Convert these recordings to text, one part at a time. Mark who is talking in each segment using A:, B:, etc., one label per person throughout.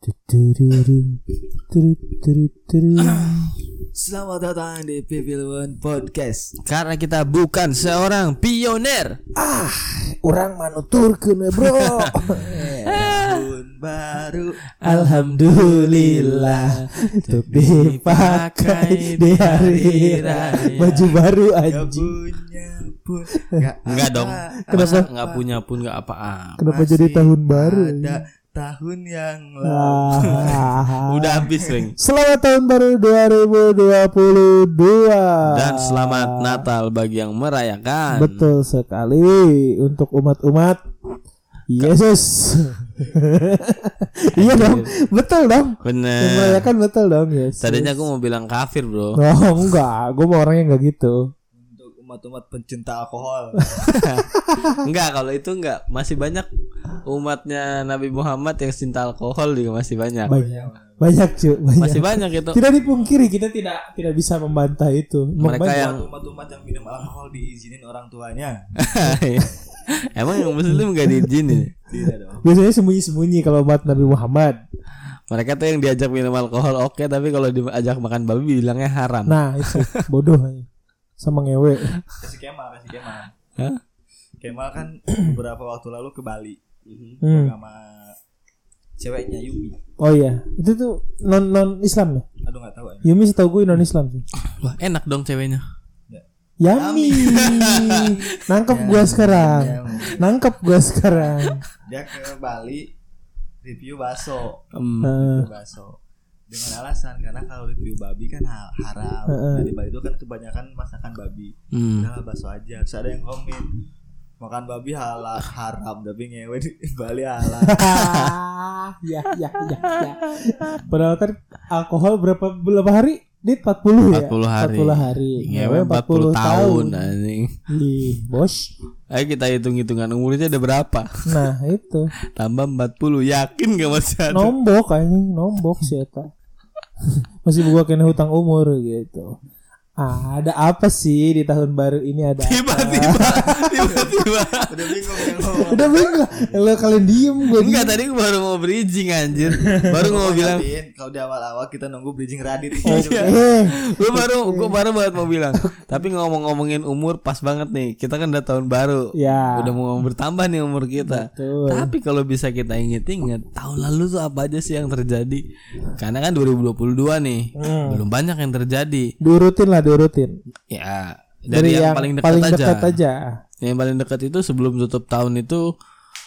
A: Tudururum, tudurururum.
B: Selamat datang di People One Podcast.
C: Karena kita bukan seorang pioner.
A: Orang manuturkeun we bro.
B: Tahun baru.
A: Alhamdulillah untuk dipakai di hari raya. Baju baru
B: Gak
A: anjing.
B: punya pun. Gak
C: Enggak dong.
A: Kenapa?
C: Masa nggak punya pun nggak apa-apa.
A: Kenapa jadi
B: masih
A: tahun baru?
B: Ada tahun yang lalu.
A: Ah.
C: Udah habis ring.
A: Selamat tahun baru 2022.
C: Dan selamat
A: Ah.
C: Natal bagi yang merayakan.
A: Betul sekali untuk umat-umat Yesus. Iya dong, betul dong. Yang
C: Bener.
A: merayakan betul dong, Yesus.
C: Tadinya aku mau bilang kafir bro.
A: Oh enggak, gue mau orangnya enggak gitu.
B: Untuk umat-umat pencinta alkohol.
C: Enggak kalau itu enggak masih banyak umatnya Nabi Muhammad yang cinta alkohol juga masih banyak.
A: Banyak, banyak cuy, banyak.
C: Iya, Masih banyak itu.
A: Tidak dipungkiri kita tidak tidak bisa membantah itu. Memang
C: Mereka
A: banyak.
C: yang
B: Umat-umat yang minum alkohol diizinin orang tuanya.
C: emang yang muslim enggak diizinin.
B: Tidak dong.
A: biasanya sembunyi-sembunyi kalau buat Nabi Muhammad.
C: Mereka tuh yang diajak minum alkohol oke tapi kalau diajak makan babi bilangnya haram.
A: Nah, itu bodoh sama ngewe.
B: Kasih Kemal, kasih Kemal.
C: Hah?
B: Kemal kan beberapa waktu lalu ke Bali.
A: Hmm.
B: Sama ceweknya Yumi.
A: Oh iya, itu tuh non non Islam ya.
B: Aduh nggak tahu. ya.
A: Yumi setahu gue non Islam sih.
C: Wah, enak dong ceweknya.
A: Yami. Nangkep gua sekarang. Nangkep gua sekarang.
B: Dia ke Bali review bakso.
C: Hmm.
A: Heeh.
B: Review bakso dengan alasan karena kalau review babi kan hal haram
A: Heeh.
B: dari Bali itu kan kebanyakan masakan babi
C: Hmm.
B: udah lah, bakso aja terus ada yang komen makan babi halal haram tapi ngewe di Bali halal
A: ya, ya, ya, ya. Padahal kan alkohol berapa berapa hari? Dit 40 ya.
C: 40 hari.
A: 40 hari.
C: Ngewe 40 Iya, tahun anjing.
A: Ih, Bos.
C: Ayo kita hitung-hitungan umurnya ada berapa?
A: Nah, itu.
C: Tambah 40 yakin gak masih ada?
A: Nombok anjing, nombok sih eta. Masih gua kena hutang umur gitu. Ah, ada apa sih di tahun baru ini ada?
C: Tiba-tiba, tiba-tiba.
B: udah bingung yang ngomong
A: Udah bingung. Lo kalian diem gue diem.
C: Enggak tadi baru mau bridging anjir. Baru mau bilang,
B: Ngapain? kalau di awal-awal kita nunggu bridging Radit
A: Eh,
C: gue baru gue baru banget mau bilang. Tapi ngomong-ngomongin umur pas banget nih. Kita kan udah tahun baru.
A: ya.
C: Udah mau bertambah nih umur kita.
A: Betul.
C: Tapi kalau bisa kita inget-inget tahun lalu tuh apa aja sih yang terjadi? Karena kan 2022 nih.
A: Hmm.
C: Belum banyak yang terjadi.
A: Diurutin lah, diurutin.
C: Ya, dari, yang, paling dekat aja. Yang paling dekat itu sebelum tutup tahun itu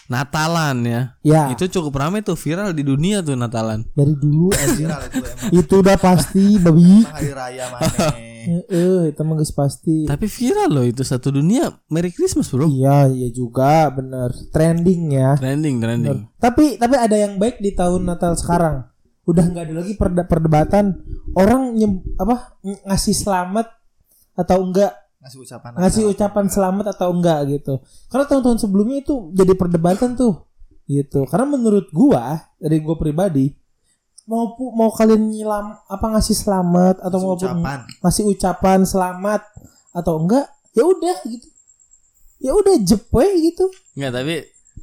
C: Natalan ya.
A: Ya,
C: Itu cukup ramai tuh viral di dunia tuh Natalan.
A: dari dulu aja.
B: viral itu emang
A: itu udah pasti babi.
B: hari raya mana
A: Eh, eh, itu mah geus pasti.
C: Tapi viral loh itu satu dunia Merry Christmas, Bro.
A: Iya, iya juga bener Trending ya.
C: Trending, trending.
A: Tapi tapi ada yang baik di tahun Natal sekarang. Udah nggak ada lagi perde- perdebatan orang nyem, apa ng- ngasih selamat atau enggak
B: ngasih ucapan
A: ngasih ucapan selamat atau enggak gitu. Karena tahun-tahun sebelumnya itu jadi perdebatan tuh gitu. Karena menurut gua dari gua pribadi mau pu- mau kalian nyilam apa ngasih selamat atau
B: Ngasih
A: maupun
B: ucapan
A: ngasih ucapan selamat atau enggak ya udah gitu. Ya udah jepoy gitu.
C: Enggak, tapi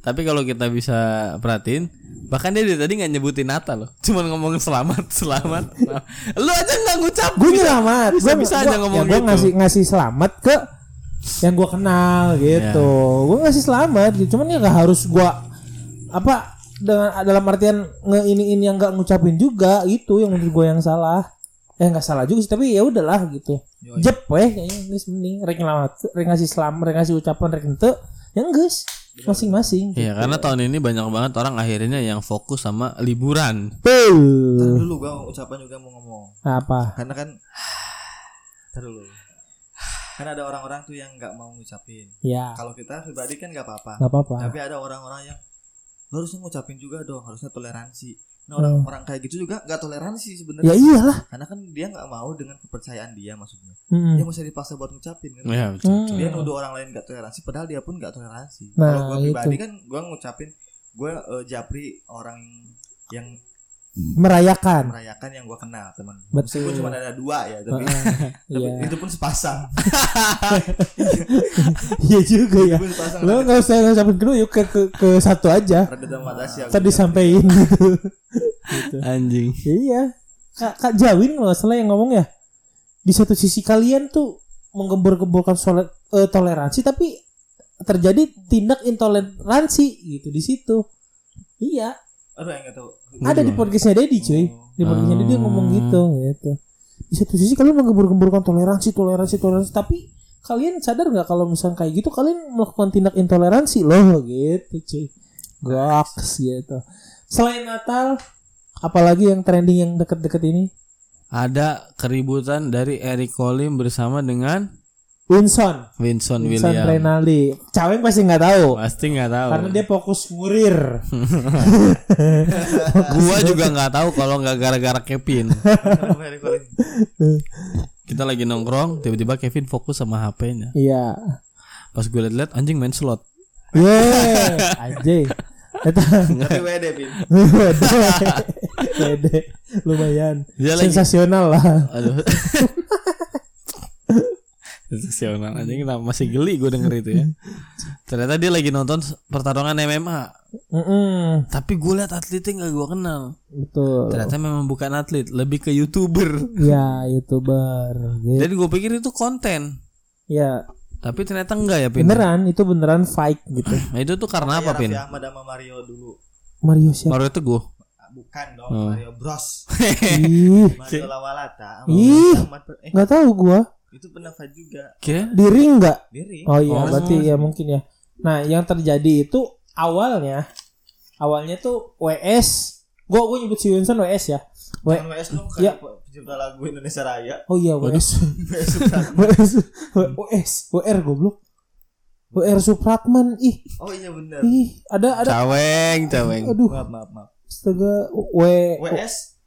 C: tapi kalau kita bisa perhatiin bahkan dia dari tadi nggak nyebutin Natal loh. Cuman ngomong selamat, selamat. Lu aja nggak ngucap.
A: gue nyelamat
C: bisa-
A: Gua-
C: bisa
A: gua-
C: aja ngomong
A: ya, gua
C: gitu.
A: ngasih ngasih selamat ke yang gue kenal gitu
C: Ya.
A: gue ngasih selamat gitu cuman ya gak harus gue apa dengan dalam artian ngeiniin yang gak ngucapin juga gitu yang menurut gue yang salah eh nggak salah juga sih tapi ya udahlah gitu ya,
B: Yoi.
A: jep weh kayaknya guys mending rek nyelamat rek ngasih selamat rek ngasih ucapan rek ente yang guys masing-masing
C: Iya, karena tahun ini banyak banget orang akhirnya yang fokus sama liburan.
B: Ntar
A: Tuh.
B: dulu gua ucapan juga mau ngomong
A: apa
B: karena kan Ntar dulu kan ada orang-orang tuh yang nggak mau ngucapin
A: ya
B: kalau kita pribadi kan nggak apa-apa
A: nggak apa-apa
B: tapi ada orang-orang yang harusnya ngucapin juga dong harusnya toleransi nah orang
A: Hmm.
B: orang kayak gitu juga nggak toleransi
A: ya
B: sebenarnya
A: iyalah
B: karena kan dia nggak mau dengan kepercayaan dia maksudnya
A: Mm.
B: dia mesti dipaksa buat ngucapin kan
C: Iya, betul.
A: Mm.
B: dia nuduh orang lain gak toleransi padahal dia pun gak toleransi
A: Nah,
B: kalau gue pribadi kan gue ngucapin gue japri orang yang
A: merayakan
B: merayakan yang gue kenal teman
A: Betul. Ah,
B: meskipun cuma ada dua ya tapi, tapi
A: Iya.
B: itu pun sepasang
A: Iya juga ya.
B: itu pun sepasang
A: Lo
B: ada,
A: nggak usah ngucapin dulu yuk ke, ke, ke satu aja.
B: ada teman Asia
A: Tadi sampein gitu. gitu.
C: Anjing.
A: Iya. Kak, Kak Jawin kalau nggak salah yang ngomong ya. Di satu sisi kalian tuh menggembor-gemborkan sole- eh, toleransi tapi terjadi tindak intoleransi gitu di situ. Iya,
B: Aduh, yang nggak tahu.
A: ada di podcastnya Dedi cuy. Di podcastnya Dedi ngomong gitu gitu. Di satu sisi kalian menggembor-gemborkan toleransi, toleransi, toleransi tapi kalian sadar nggak kalau misalnya kayak gitu kalian melakukan tindak intoleransi loh gitu cuy. Goks gitu. Selain Natal, apalagi yang trending yang deket-deket ini?
C: Ada keributan dari Eric Colim bersama dengan
A: Winston,
C: Winston
A: Winston
C: William.
A: Renaldi. Caweng pasti nggak tahu
C: Pasti nggak tahu.
A: karena dia fokus ngurir.
C: Gua juga nggak tahu kalau nggak gara-gara Kevin.
B: Very calling.
C: Kita lagi nongkrong, tiba-tiba Kevin fokus sama HP-nya.
A: Iya.
C: Pas gue liat-liat anjing main slot.
A: Ye, anjing. Iya, Eta-
B: Tapi WD, Pin.
A: Wede. Wede. Lumayan.
C: Dia Iya lagi-
A: Sensasional lah.
C: Aduh. Sensasional anjing kenapa masih geli gue denger itu ya. Ternyata dia lagi nonton pertarungan MMA.
A: Mm-mm,
C: Tapi gue liat atletnya nggak gue kenal.
A: betul.
C: Ternyata memang bukan atlet, lebih ke youtuber.
A: Ya, YouTuber. Gitu.
C: Jadi gue pikir itu konten.
A: Ya,
C: Tapi ternyata enggak ya Pin.
A: beneran itu beneran fight gitu.
C: Nah, itu tuh karena apa
B: Raffi
C: Pin?
B: ya, Ahmad sama Mario dulu.
A: Mario siapa?
C: Baru itu gue.
B: Ah, Bukan dong,
A: Oh.
B: Mario Bros.
A: Ih,
B: Mario Lawalata. Ah, sama
A: Ih.
B: Ahmad. Eh,
A: nggak tahu gua.
B: itu pernah fight juga.
C: Kira
A: Di ring nggak?
B: Diri.
A: Oh iya, berarti ya mungkin ya. Nah, yang terjadi itu awalnya awalnya tuh WS gua gua nyebut si Winston WS ya. W
B: Jangan WS dong,
A: Ya.
B: kan pencipta lagu Indonesia Raya.
A: Oh iya WS. WS WS WR goblok. WR Supratman ih
B: Oh iya bener.
A: ih ada ada
C: caweng, caweng.
A: aduh Eh,
B: Maaf, maaf, maaf.
A: astaga W
B: WS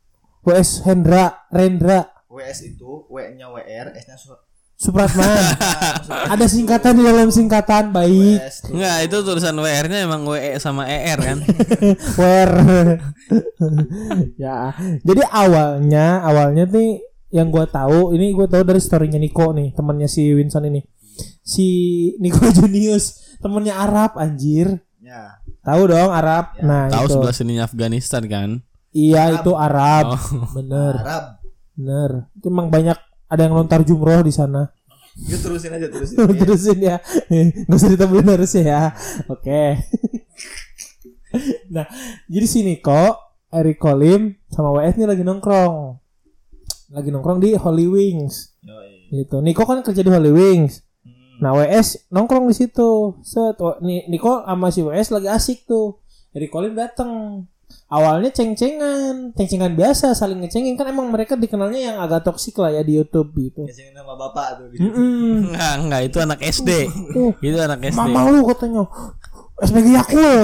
A: WS Hendra Rendra
B: WS itu W-nya WR, S-nya surat. Ah,
A: Supratman. ada singkatan di dalam singkatan baik
B: WS tuh.
C: Enggak, itu tulisan WR-nya emang WE sama ER kan.
A: Nah, Where ya jadi awalnya awalnya nih yang gue tahu ini gue tahu dari storynya Niko nih temannya si Winston ini si Niko Junius temennya Arab anjir
B: Ya.
A: tahu dong Arab nah
C: Ya. Tahu
A: itu
C: sebelah sininya Afghanistan kan.
A: iya itu Arab
C: Oh.
A: bener
B: Arab.
A: bener itu emang banyak ada yang lontar jumroh di sana
B: Yuk terusin aja terusin.
A: terusin ya nggak usah ditambahin harusnya ya oke nah jadi si Niko Eric Kolim sama WS nih lagi nongkrong lagi nongkrong di Holy Wings
B: Yoi.
A: gitu Niko kan kerja di Holy Wings
B: Hmm.
A: nah WS nongkrong di situ set Wa- Ni- Niko sama si WS lagi asik tuh Eric Kolim datang awalnya ceng-cengan ceng-cengan biasa saling ngecengin kan emang mereka dikenalnya yang agak toksik lah ya di YouTube gitu
B: Biasanya nama bapak tuh. Gitu.
A: Mm-mm.
C: Enggak, enggak, itu anak SD.
A: Tuh.
C: Itu anak SD.
A: Mama lu katanya SPG Yakul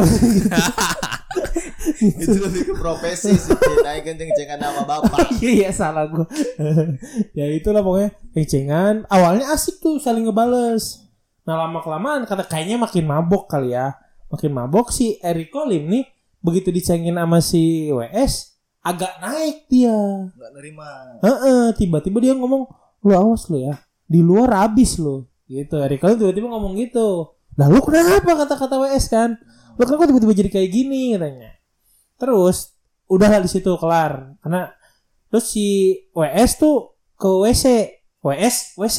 B: itu lebih ke profesi sih. Naik kenceng-cengan nama bapak.
A: Iya iya salah gua Ya itulah pokoknya Kencengan Awalnya asik tuh saling ngebales Nah lama kelamaan kata kayaknya makin mabok kali ya Makin mabok si Eric Kolim nih Begitu dicengin sama si WS Agak naik dia
B: Enggak nerima.
A: Heeh, tiba-tiba dia ngomong, "Lu awas lu ya. Di luar habis lu." Gitu. Eric Colin tiba-tiba ngomong gitu. Lah lu kenapa kata-kata WS kan? Lu kenapa tiba-tiba jadi kayak gini katanya. Terus udahlah di situ kelar. Karena terus si WS tuh ke WC. WS WC.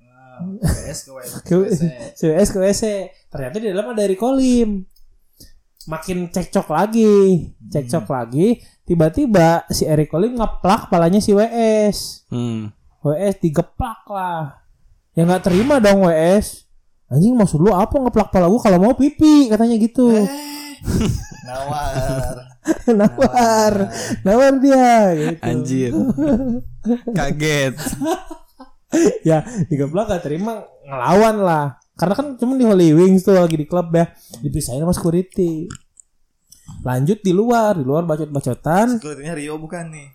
B: Nah, WS ke WS.
A: Ke
B: eh.
A: si WS ke WC. Ternyata di dalam ada Eric Kolim. Makin cekcok lagi, cekcok lagi. Tiba-tiba si Eric Kolim ngeplak palanya si WS.
C: Hmm.
A: WS digeplak lah. Ya nggak terima dong WS. Anjing maksud lu apa ngeplak pala gua kalau mau pipi katanya gitu.
C: Eh.
B: Nawar.
A: nawar.
C: Nah.
A: Nawar dia gitu.
C: Anjir. Kaget.
A: ya digeplak nggak terima ngelawan lah. Karena kan cuma di Holy Wings tuh lagi di klub ya. Dipisahin sama security. Lanjut di luar, di luar bacot-bacotan.
B: Sekelirnya Rio bukan nih.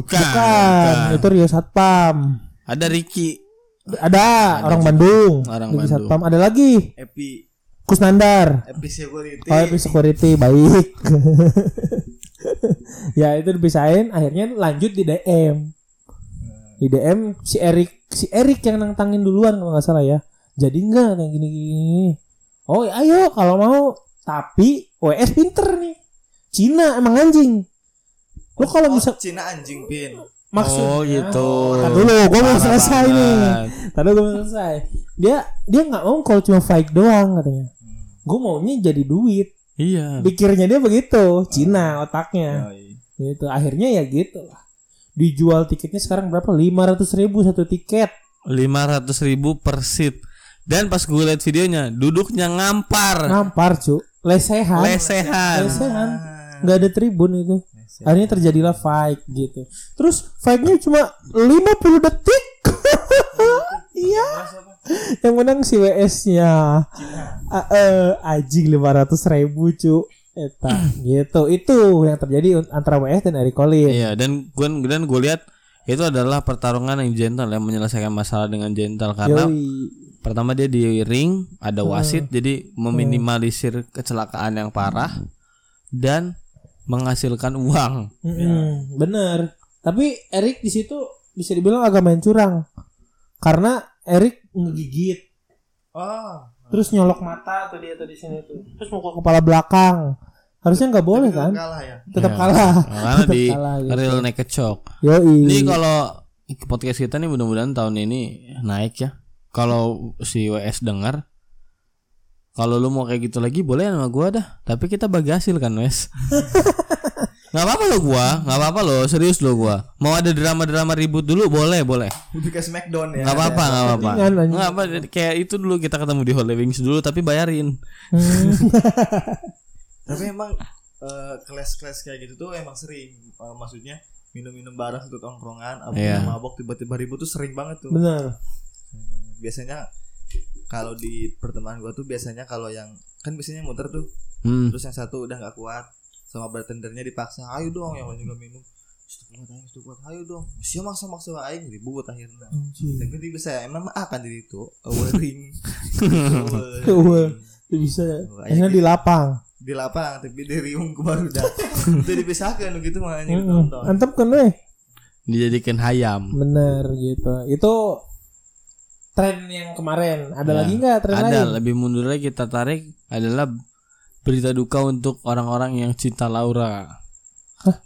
C: Bukan.
A: Bukan, itu Rio Satpam.
C: Ada Ricky.
A: Ada orang Bandung,
C: Orang
A: Rio
C: Bandung.
A: Satpam. Ada lagi
B: Epi.
A: Kusnandar.
B: Epi
A: Oh,
B: security.
A: tapi security baik. ya itu dipisahin, akhirnya lanjut di DM. Di DM si Erik, si Erik yang nantangin duluan kalau nggak salah ya. Jadi enggak yang gini gini. Oh, ya ayo kalau mau. Tapi WS pinter nih. Cina emang anjing. Lo kalau bisa
B: Oh, Cina anjing pin.
A: maksud
C: oh gitu.
A: Tar dulu, gue belum
C: Parah
A: selesai
C: banget.
A: nih. Tar dulu gue belum selesai. Dia dia nggak mau kalau cuma fight doang katanya. Gue maunya jadi duit.
C: Iya.
A: Pikirnya dia begitu, Cina otaknya.
B: Yoi.
A: Gitu. Akhirnya ya gitu lah. Dijual tiketnya sekarang berapa? 500 ribu satu tiket.
C: Lima ratus ribu per seat. Dan pas gue liat videonya, duduknya ngampar,
A: Nampar cu. Lesehan.
C: lesehan.
A: Lesehan. Nggak ada tribun itu.
B: Lesehan.
A: Akhirnya terjadilah fight gitu. Terus fightnya cuma 50 detik. Iya. yang menang si WS-nya. A- Eh, anjing 500 ribu cu. Eta, gitu. Itu yang terjadi un- antara WS dan Eric Collins.
C: Iya. Dan gue dan gue lihat itu adalah pertarungan yang gentle yang menyelesaikan masalah dengan gentle karena
A: Yoi.
C: pertama dia di ring ada wasit jadi meminimalisir kecelakaan yang parah dan menghasilkan uang.
A: Mm-mm, Bener. Tapi Eric di situ bisa dibilang agak main curang karena Eric ngegigit
B: Oh.
A: terus nyolok mata tuh dia tuh di sini tuh terus mukul kepala belakang harusnya nggak boleh kan
B: Kalah ya.
A: tetap
C: Ya.
A: kalah
C: Karena
A: Tetap
C: di
A: kalah, gitu.
C: real naked shock. Ini
A: yoi Mm.
B: Hmm.
C: kalau podcast kita nih mudah-mudahan tahun ini naik ya. Kalau si WS dengar kalau lu mau kayak gitu lagi boleh sama gua dah. Tapi kita bagi hasil kan, Wes. Gak apa-apa lo gua, gak apa-apa lo, serius lo gua. Mau ada drama-drama ribut dulu boleh, boleh.
B: Udah ke Smackdown ya.
C: Gak apa-apa, gak apa-apa.
A: Mendingan, anjing.
C: Gak apa, kayak itu dulu kita ketemu di Holy Wings dulu tapi bayarin.
B: Tapi emang eh, kelas-kelas kayak gitu tuh emang sering. Eh, maksudnya minum-minum bareng satu tongkrongan, abis
C: Iya.
B: mabok tiba-tiba ribut tuh sering banget tuh.
A: bener
B: Biasanya kalau di pertemanan gua tuh biasanya kalau yang kan biasanya muter tuh
C: Hmm.
B: terus yang satu udah nggak kuat sama bartendernya dipaksa ayo dong yang lain juga minum Situ kuat ayo, situ kuat ayo dong Siapa maksa maksa aing ribut akhirnya
A: Anjing.
B: tapi tiba saya emang akan jadi itu awering
A: Awal. itu bisa akhirnya di lapang
B: di lapang tapi di riung ke baru dah itu dipisahkan gitu mah anjing
A: Mm-mm.
B: nonton
A: mantap kan weh
C: Dijadikan hayam.
A: bener gitu itu tren yang kemarin ada
C: Ya.
A: lagi nggak tren
C: Ada
A: lain
C: lebih mundur lagi kita tarik adalah berita duka untuk orang-orang yang cinta Laura.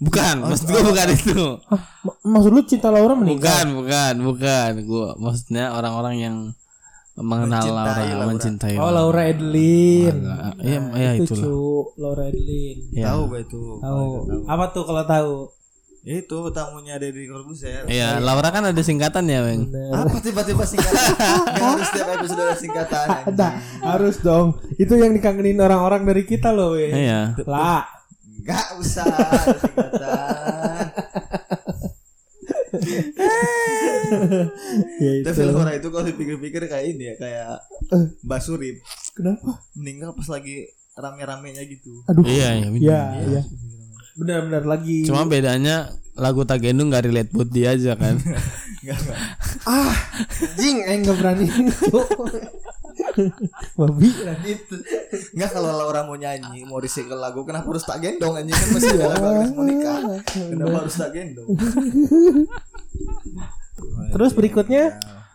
C: Bukan, maksud gua bukan itu.
A: Ah, mak- maksud lu cinta Laura meninggal
C: Bukan, bukan, bukan. Gua maksudnya orang-orang yang mengenal
B: Mencintai
C: Laura,
B: Laura.
C: mencintai.
A: oh Laura Edelin
C: Laura. Iya, iya
A: itu
C: itulah.
A: cu Laura Edelin
C: Iya.
B: tahu gue itu
A: tahu apa tuh kalau tahu
B: itu tamunya dari Corbuzier
C: Iya, Laura kan ada singkatan ya, Weng.
B: apa tiba-tiba singkatan Nggak harus setiap episode ada singkatan anjing.
A: ada harus dong itu yang dikangenin orang-orang dari kita loh weh
C: Iya.
A: lah
B: nggak usah ada singkatan
A: ya
B: Tapi
A: itu
B: Laura itu kalau dipikir-pikir kayak ini ya kayak
A: Eh.
B: Mbak Surip
A: kenapa
B: meninggal pas lagi rame-ramenya gitu.
A: aduh
C: Iya, iya. bener.
A: ya ya benar-benar lagi
C: Cuma bedanya lagu Tagendung gak relate buat dia aja kan.
B: Enggak enggak.
A: ah jing eh nggak berani Cu. babi berani itu
B: Enggak kalau Laura mau nyanyi, mau recycle lagu kenapa harus tak gendong anjing kan masih ada lagu
A: Iya.
B: Agnes Monica. Kenapa harus tak gendong?
A: terus
C: iya.
A: berikutnya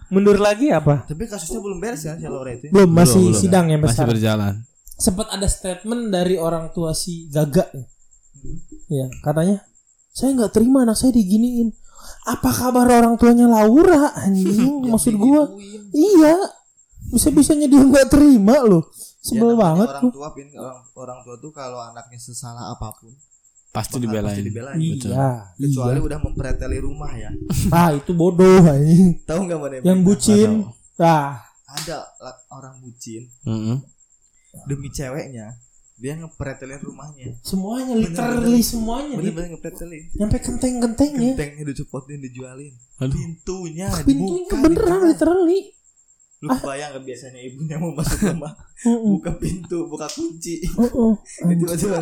A: mundur lagi apa
B: Tapi kasusnya belum beres kan si Laura itu.
A: belum masih
C: Belum, belum.
A: sidang yang
C: Masih
A: besar
C: berjalan.
A: sempat ada statement dari orang tua si Gaga ya katanya saya nggak terima anak saya diginiin apa kabar orang tuanya Laura anjing
B: Ya,
A: maksud gua iya bisa bisanya dia nggak terima loh
B: Ya,
A: sebel
B: namanya
A: banget
B: orang
A: tuh
B: tua pin orang orang tua tuh kalau anaknya sesalah apapun bakal
C: Pasti dibelain.
B: pasti dibelain.
C: Betul.
A: iya
B: Kecuali
A: iya
B: udah mempreteli rumah ya.
A: ah itu bodoh anjing
B: Tahu enggak mana
A: yang bucin ah
B: ada la- orang bucin
C: Mm-mm.
B: demi ceweknya dia
A: Iya,
B: ngepretelin rumahnya
A: semuanya literally semuanya Dit.
B: bener-bener ngepretelin
A: nyampe kenteng-kentengnya
B: gentengnya dicopotin dijualin
C: Aduh.
B: pintunya
A: pintunya
B: dibuka
A: beneran
B: dijual.
A: literally
B: lu kebayang gak biasanya ibunya mau masuk rumah
A: Heeh,
B: buka pintu buka kunci
A: heeh.
B: tiba-tiba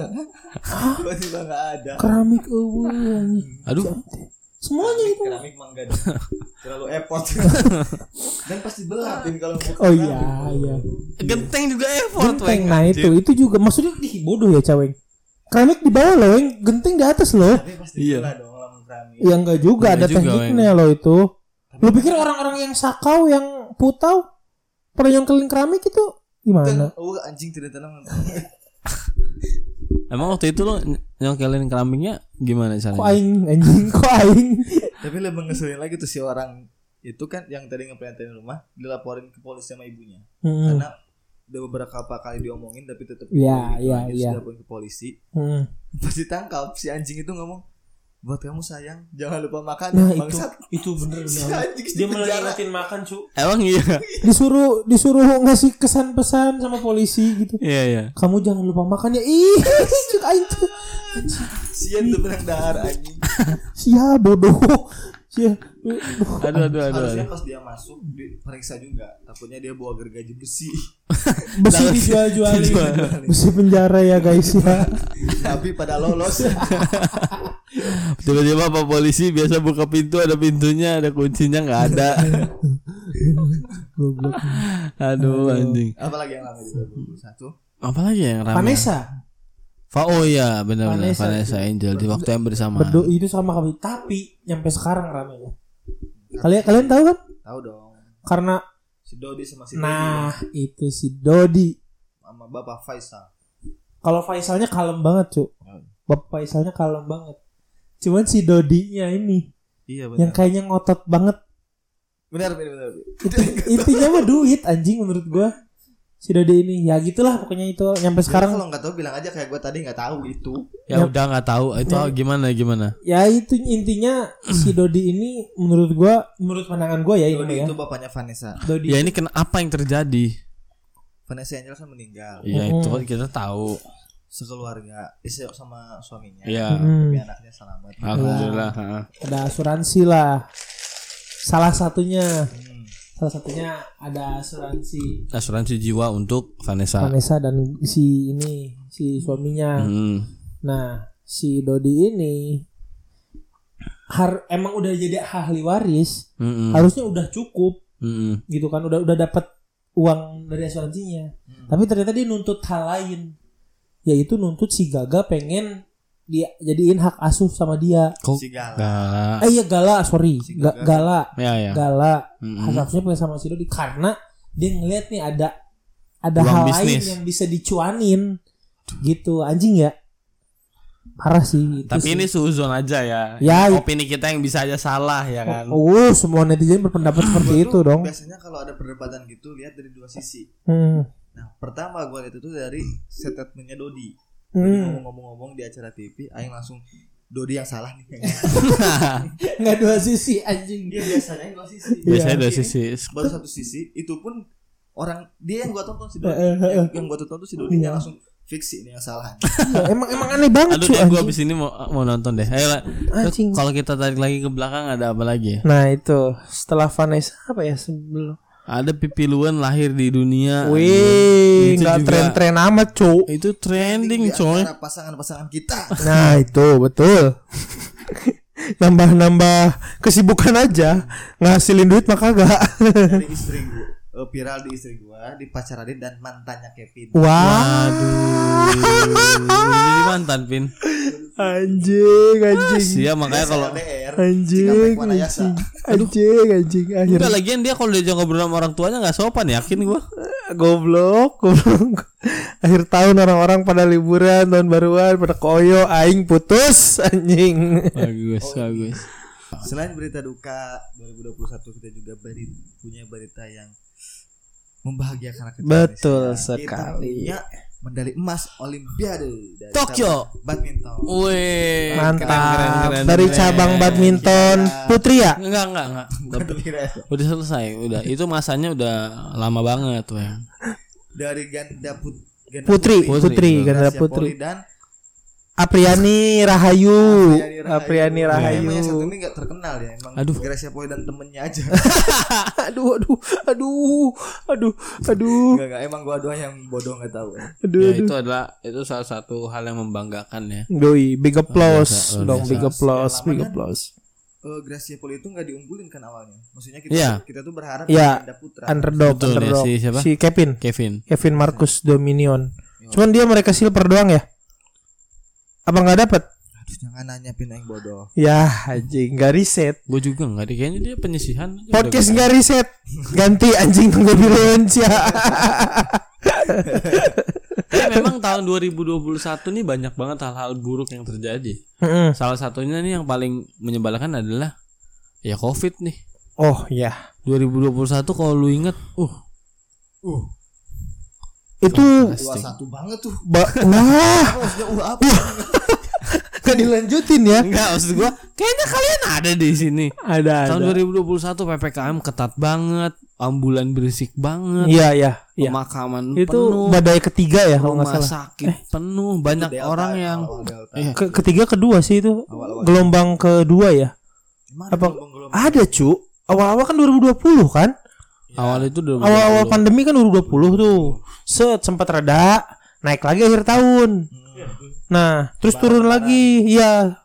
B: tiba-tiba nggak ada
A: keramik eueuh, anjing
C: Aduh.
A: semuanya itu
B: keramik mangga terlalu effort dan pasti belapin kalau buka
A: oh iya
B: keramik.
A: iya
C: Genteng juga effort,
A: genteng
C: Weng.
A: nah itu itu juga maksudnya ih bodoh ya caweng keramik di bawah loh Weng. genteng di atas loh
B: tapi pasti
C: Iya.
B: belah dong lamun keramik
A: ya enggak juga
C: Enggak
A: ada
C: Iya juga,
A: tekniknya loh itu lu pikir orang-orang yang sakau yang putau
B: Kan,
A: pada yang keling keramik itu gimana
B: oh anjing tidak tenang
C: Emang waktu itu lo ny- nyongkelin kelampingnya gimana
A: Kok
C: caranya?
A: aing anjing kok aing.
B: Tapi lebih ngeselin lagi tuh si orang itu kan yang tadi ngeplantain rumah dilaporin ke polisi sama ibunya.
A: Hmm,
B: Karena udah beberapa kali diomongin tapi tetap
A: Iya,
B: diomongin gitu.
A: iya,
B: Akhirnya
A: iya.
B: Sudah dilaporin ke polisi.
A: hmm.
B: Pas ditangkap si anjing itu ngomong buat kamu sayang jangan lupa makan ya,
A: Nah, itu.
B: bangsat.
D: itu bener
B: Si
D: bener.
B: anjing di
D: dia malah
B: penjara.
D: ngingetin makan cu
C: Emang iya.
A: Disuruh disuruh ngasih kesan pesan sama polisi gitu.
C: Iya iya.
A: Kamu jangan lupa makan ya. Ih, cuk aing tuh.
B: Sian tuh benang dahar anjing.
A: Sia Ya, bodoh. Ya, Sia. Aduh.
C: Aduh aduh aduh.
B: Harusnya
C: aduh.
B: pas dia masuk diperiksa juga. Takutnya dia bawa gergaji besi.
A: Besi dijual-jualin.
C: Dijual.
A: Besi penjara ya guys ya.
B: tapi pada lolos.
C: Tiba-tiba pak polisi biasa buka pintu ada pintunya ada kuncinya nggak ada.
A: Goblok.
C: aduh anjing.
B: Apalagi yang lama juga satu.
C: Apalagi yang ramai?
A: Vanessa
C: Fa oh iya benar-benar
A: Vanessa.
C: Vanessa, Angel di waktu yang bersamaan.
A: berdoa itu sama kami tapi nyampe sekarang ramenya. Kalian kalian tahu kan?
B: Tahu dong.
A: Karena
B: Si Dodi sama si
A: nah itu si Dodi.
B: Dodi sama Bapak Faisal.
A: Kalau Faisalnya kalem banget, Cuk. Bapak Faisalnya kalem banget. Cuman si Dodinya ini
B: Iya
A: yang kayaknya ngotot banget.
B: Benar benar benar. benar.
A: Intinya mah duit anjing menurut gua. Si Dodi ini ya gitulah pokoknya itu nyampe sekarang
B: Sekarang kalau nggak tahu bilang aja kayak gue tadi nggak tahu itu.
C: ya udah nggak tahu itu gimana gimana.
A: ya itu intinya si Dodi ini menurut gua menurut pandangan gua ya ini
B: Dodi
A: mah ya.
B: itu bapaknya Vanessa.
A: Dodi
C: Ya ini kenapa yang terjadi?
B: Vanessa Angel kan meninggal.
C: Ya itu kan kita tahu.
B: Sekeluarga, istri sama suaminya.
C: Ya.
A: Hmm,
B: Tapi anaknya selamat.
C: Ah. Alhamdulillah. ha.
A: ada asuransi lah. Salah satunya
B: Hmm.
A: salah satunya ada asuransi
C: Asuransi jiwa untuk Vanessa.
A: Vanessa dan si ini si suaminya.
C: Hmm.
A: Nah, si Dodi ini har emang udah jadi ahli waris,
C: Mm-mm.
A: harusnya udah cukup
C: Mm-mm.
A: gitu kan, udah udah dapat uang dari asuransinya.
B: Hmm.
A: Tapi ternyata dia nuntut hal lain, yaitu nuntut si Gaga pengen dia jadiin hak asuh sama dia.
C: Kok
B: Si Gala.
C: Gak.
A: Eh iya Gala, sorry,
B: Si
A: Ga-
B: Gaga.
A: Gala,
C: Ya ya.
A: Gala,
C: Mm-mm.
A: hak asuhnya pengen sama si Dodi karena dia ngeliat nih ada ada
C: Peluang
A: hal
C: bisnis.
A: lain yang bisa dicuanin gitu anjing ya parah sih itu
C: Tapi
A: sih.
C: ini suzon aja ya.
A: Ya, i-
C: Opini kita yang bisa aja salah ya kan. Ah,
A: Oh, semua netizen berpendapat seperti
B: Gua
A: itu
B: tuh
A: Gitu dong.
B: Biasanya kalau ada perdebatan gitu lihat dari dua sisi.
A: Hmm.
B: Nah, pertama gue lihat itu dari statementnya Dodi. Dodi
A: Hmm.
B: Ngomong-ngomong di acara TV, Aing langsung Dodi yang salah nih kayaknya.
A: Nggak dua sisi anjing.
B: dia biasanya dua sisi
C: Biasanya
B: Iya.
C: dari sisi
B: baru satu sisi itu pun orang dia yang gua tonton si Dodi
A: Eh, eh, eh,
B: yang, yang gua tonton tuh si Dodi
A: Iya.
B: yang langsung fiksi ini yang salah
A: Iya, emang emang aneh banget
C: Aduh
A: cuy,
C: deh gue
A: anjing.
C: abis ini mau, mau nonton deh Ayo lah Terus
A: Anjing.
C: Kalau kita tarik lagi ke belakang ada apa lagi ya
A: Nah, itu setelah Vanessa apa ya sebelum
C: Ada Pipi Luan lahir di dunia
A: Wih,
C: Itu
A: nggak
C: juga-
A: tren-tren Iya. amat, cuy.
C: Itu trending
B: Di
C: coy
B: antara pasangan-pasangan kita
A: Nah, itu betul. Nambah-nambah kesibukan aja, ngasilin duit mah kagak.
B: dari istri gua eh, viral di istri gua di pacar Adit dan mantannya Kevin
A: Wah,
C: Aduh Jadi mantan Pin
A: anjing, anjing.
C: Sia makanya Eh, kalau
B: LDR
A: Anjing,
B: Cikampek Wanayasa.
A: anjing, anjing, anjing, akhirnya
C: Enggak lagian dia kalau diajak ngobrol sama orang tuanya gak sopan yakin gue
A: goblok, goblok. Akhir tahun orang-orang pada liburan, tahun baruan, pada koyo, aing putus, anjing.
C: Bagus bagus
B: selain berita duka 2021 kita juga beri, punya berita yang membahagiakan rakyat
A: Betul
B: Indonesia. Kita
A: sekali.
B: punya medali emas Olimpiade dari
C: Tokyo.
B: cabang badminton
C: Wih
A: Mantap.
C: keren, keren, keren, Iya.
A: Dari
C: keren.
A: cabang badminton putri ya?
C: Enggak enggak enggak Tapi Udah selesai, udah. Itu masanya udah lama banget, weh. Ya,
B: dari ganda put ganda
A: Putri,
C: Putri,
A: putri,
C: betul.
A: ganda
B: Gracia
A: putri.
B: Poli dan
A: Apriani Rahayu, Apriani
C: Iya,
A: Rahayu.
B: Namanya satu ini nggak terkenal ya emang
C: Aduh.
B: Gracia Poli dan temennya aja
A: Aduh, aduh, aduh, aduh, aduh,
B: nggak nggak emang gua doang yang bodoh nggak tahu
A: aduh,
C: Ya,
A: aduh.
C: itu adalah itu salah satu hal yang membanggakan ya.
A: Doi, big applause
C: Luar biasa, luar
A: dong,
C: biasa.
A: big applause, big
B: Pengalaman.
A: applause.
B: Eh, Gracia Poli itu nggak diunggulin kan awalnya maksudnya kita
C: Iya.
B: kita tuh berharap
A: Iya.
B: ganda putra
A: Underdog,
C: Betul ya,
A: underdog.
C: si siapa? Iya.
A: Si Kevin,
C: Kevin.
A: Kevin Marcus Dominion. Cuman dia mereka silver doang ya? Apa nggak dapat?
B: aduh jangan nanya pin yang bodoh
A: Ya, anjing nggak riset.
C: Gue juga nggak deh. Kayaknya dia penyisihan. aja
A: Podcast
C: udah.
A: nggak riset. Ganti anjing tunggu di lunch ya.
C: Tapi memang tahun 2021 nih banyak banget hal-hal buruk yang terjadi.
A: Mm-mm.
C: Salah satunya nih yang paling menyebalkan adalah ya Covid nih.
A: Oh ya.
C: 2021 kalau lu inget, uh,
B: Uh,
A: Itu
B: dua
C: pasti.
B: satu banget tuh.
A: ba- wah,
B: Maksudnya uh apa?
A: gak dilanjutin ya.
C: Enggak, maksud gua kayaknya kalian ada di sini.
A: Ada
C: Tahun
A: ada.
C: 2021 PPKM ketat banget, ambulan berisik banget,
A: Iya ya, ya.
C: pemakaman
A: Itu
C: penuh,
A: badai ketiga ya kalau nggak
C: rumah
A: salah.
C: sakit penuh, banyak
B: Delta,
C: ya, orang yang
B: awal Delta.
C: Iya.
A: Ke- ketiga kedua sih itu.
B: Awal-awal.
A: Gelombang kedua ya.
B: Gimana
A: Apa-
B: gelombang-gelombang?
A: Ada, Cu. Awal-awal kan 2020 kan?
C: awal itu 2020.
A: Awal-awal pandemi kan 2020 tuh. Set sempat reda, naik lagi akhir tahun.
B: Hmm,
A: Nah, terus turun lagi. Iya,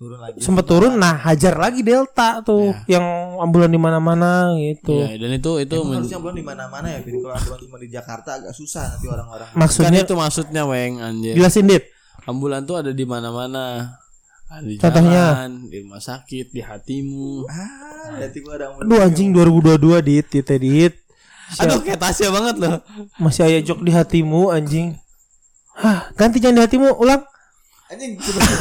B: Turun lagi.
C: Iya.
A: sempat turun nah hajar lagi Delta tuh yang ambulan di mana-mana gitu.
C: Iya, dan itu itu
B: Emang
C: men-
B: Kan harusnya belum di mana-mana ya, Bin. Kalau aturan cuma di Jakarta agak susah nanti orang-orang.
C: kan
A: Maksudnya
C: itu maksudnya weng anjir.
A: jelasin Dit.
C: Ambulan tuh ada di mana-mana. Ada Di
A: Contohnya?
C: jalan, di rumah sakit, di hatimu.
B: Ah, nanti gua ada
A: Aduh anjing 2022 Dit, Dit, Dit.
C: Aduh, kayak Tasya banget loh.
A: Masih ayah jok di hatimu anjing. Hah, ganti jangan di hatimu ulang.
B: Anjing tiba-tiba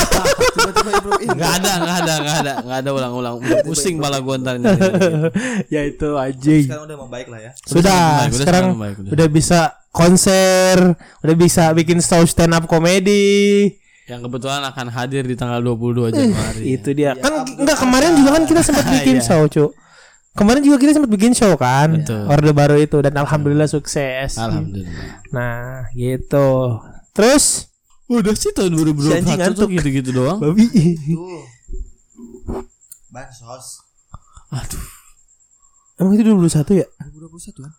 B: tiba-tiba improve. Ih,
C: Enggak ada, enggak ada, enggak ada, enggak ada ulang-ulang. Udah pusing pala gua ntar nyari.
A: ya itu anjing.
B: Sekarang udah membaik lah ya.
A: Sudah,
C: Udah, udah,
A: sekarang
C: udah, udah, udah.
A: udah bisa konser, udah bisa bikin show stand up komedi.
C: Yang kebetulan akan hadir di tanggal 22 Januari.
A: Itu dia. Kan enggak kemarin juga kan kita sempat bikin show, Cuk. Kemarin juga kita sempat bikin show kan,
C: Betul.
A: orde baru itu dan alhamdulillah sukses.
C: Alhamdulillah.
A: Nah, gitu. Terus
C: Udah sih tahun
A: Si anjing
C: 2021 tuh
A: ngantuk.
C: gitu-gitu doang.
A: babi.
B: Tuh. Bansos.
C: Aduh.
A: Emang itu 21 ya?
B: 2021
C: Nah.
B: kan?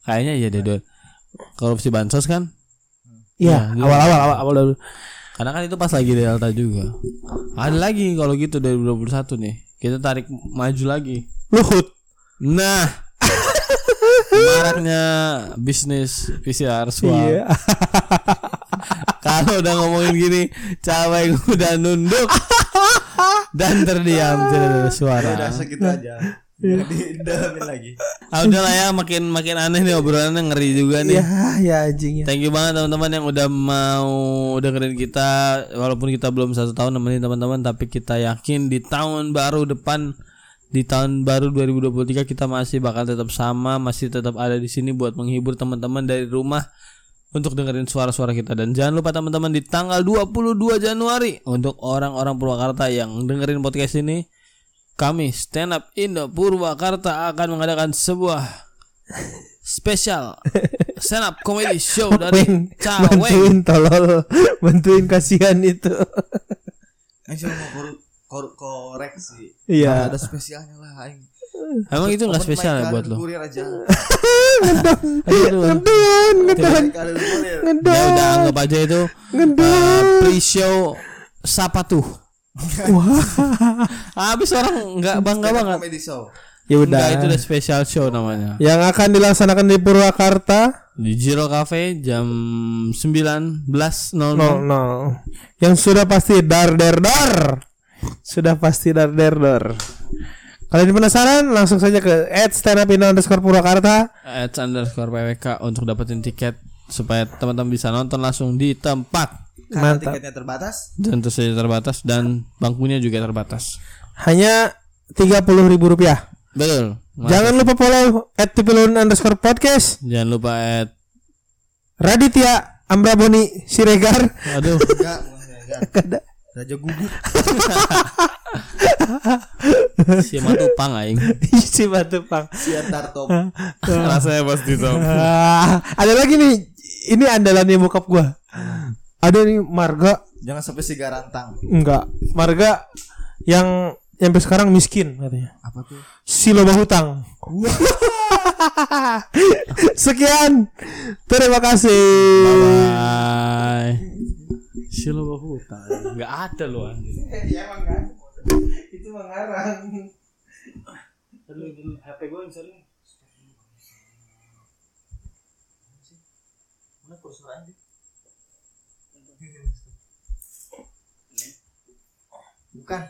C: Kayaknya iya deh, Dor. Korupsi bansos kan?
A: Iya,
C: Iya,
A: awal-awal awal awal dulu.
C: Karena kan itu pas lagi Delta juga. Ada lagi kalau gitu dari 2021 nih. Kita tarik maju lagi.
A: Luhut.
C: Nah, maraknya bisnis PCR swab.
A: Iya.
C: Kalau udah ngomongin gini, cabai udah nunduk dan terdiam tidak ada suara.
B: Udah segitu aja.
C: Iya.
B: Jadi dalamin lagi.
C: Ah, udah lah ya, makin makin aneh nih obrolannya ngeri juga nih.
A: Iya, ya anjing ya.
C: Thank you banget teman-teman yang udah mau dengerin kita walaupun kita belum satu tahun nemenin teman-teman tapi kita yakin di tahun baru depan di tahun baru 2023 kita masih bakal tetap sama masih tetap ada di sini buat menghibur teman-teman dari rumah untuk dengerin suara-suara kita dan jangan lupa teman-teman di tanggal 22 Januari untuk orang-orang Purwakarta yang dengerin podcast ini kami stand up Indo Purwakarta akan mengadakan sebuah spesial stand up comedy show dari
A: Weng,
C: Caweng
A: bantuin tolol, bantuin kasihan itu.
B: Eh, saya mau koru, koru- koreksi.
A: Iya.
B: Ada spesialnya lah aing.
C: Emang itu nggak
B: Open
C: spesial
B: mic kan?
C: ya buat
B: kalian
C: lo?
B: Kurir aja.
C: Aduh,
A: Ngedan, ngedan,
B: Baik kalian kurir.
C: Ya
A: ngedan,
C: udah anggap aja itu uh,
A: ngedan.
C: pre-show siapa tuh? Habis orang nggak bangga banget.
B: Comedy show.
A: Ya udah.
C: Enggak itu udah special show namanya.
A: Yang akan dilaksanakan di Purwakarta
C: Di Jiro Cafe jam 19.00.
A: 00. Yang sudah pasti dar der dor. Sudah pasti dar der dor. Kalian penasaran? Langsung saja ke @standupindo underscore Purwakarta.
C: At underscore PWK untuk dapetin tiket supaya teman-teman bisa nonton langsung di tempat.
B: Karena
A: Mantap.
B: tiketnya terbatas.
C: Tentu saja terbatas dan bangkunya juga terbatas.
A: Hanya tiga puluh ribu rupiah.
C: Betul. Ma-
A: Jangan lupa follow @tipilun underscore podcast.
C: Jangan lupa at
A: Raditya Ambraboni Siregar.
C: aduh
B: Enggak, enggak. Raja gugup.
C: si matupang aing.
A: si Batupang.
B: Sian Tartop.
C: Rasanya pasti tuh.
A: Ah, ada lagi nih. Ini andalannya bokap gua. Ada nih Marga
B: Jangan sampai si garantang.
A: enggak. Marga yang sampai sekarang miskin katanya.
B: Apa tuh?
A: Si loba hutang. Sekian. Terima kasih.
C: Bye. Si lo bawa hutang. Nggak ada lo anjir.
A: Itu mengarang.
B: Bukan.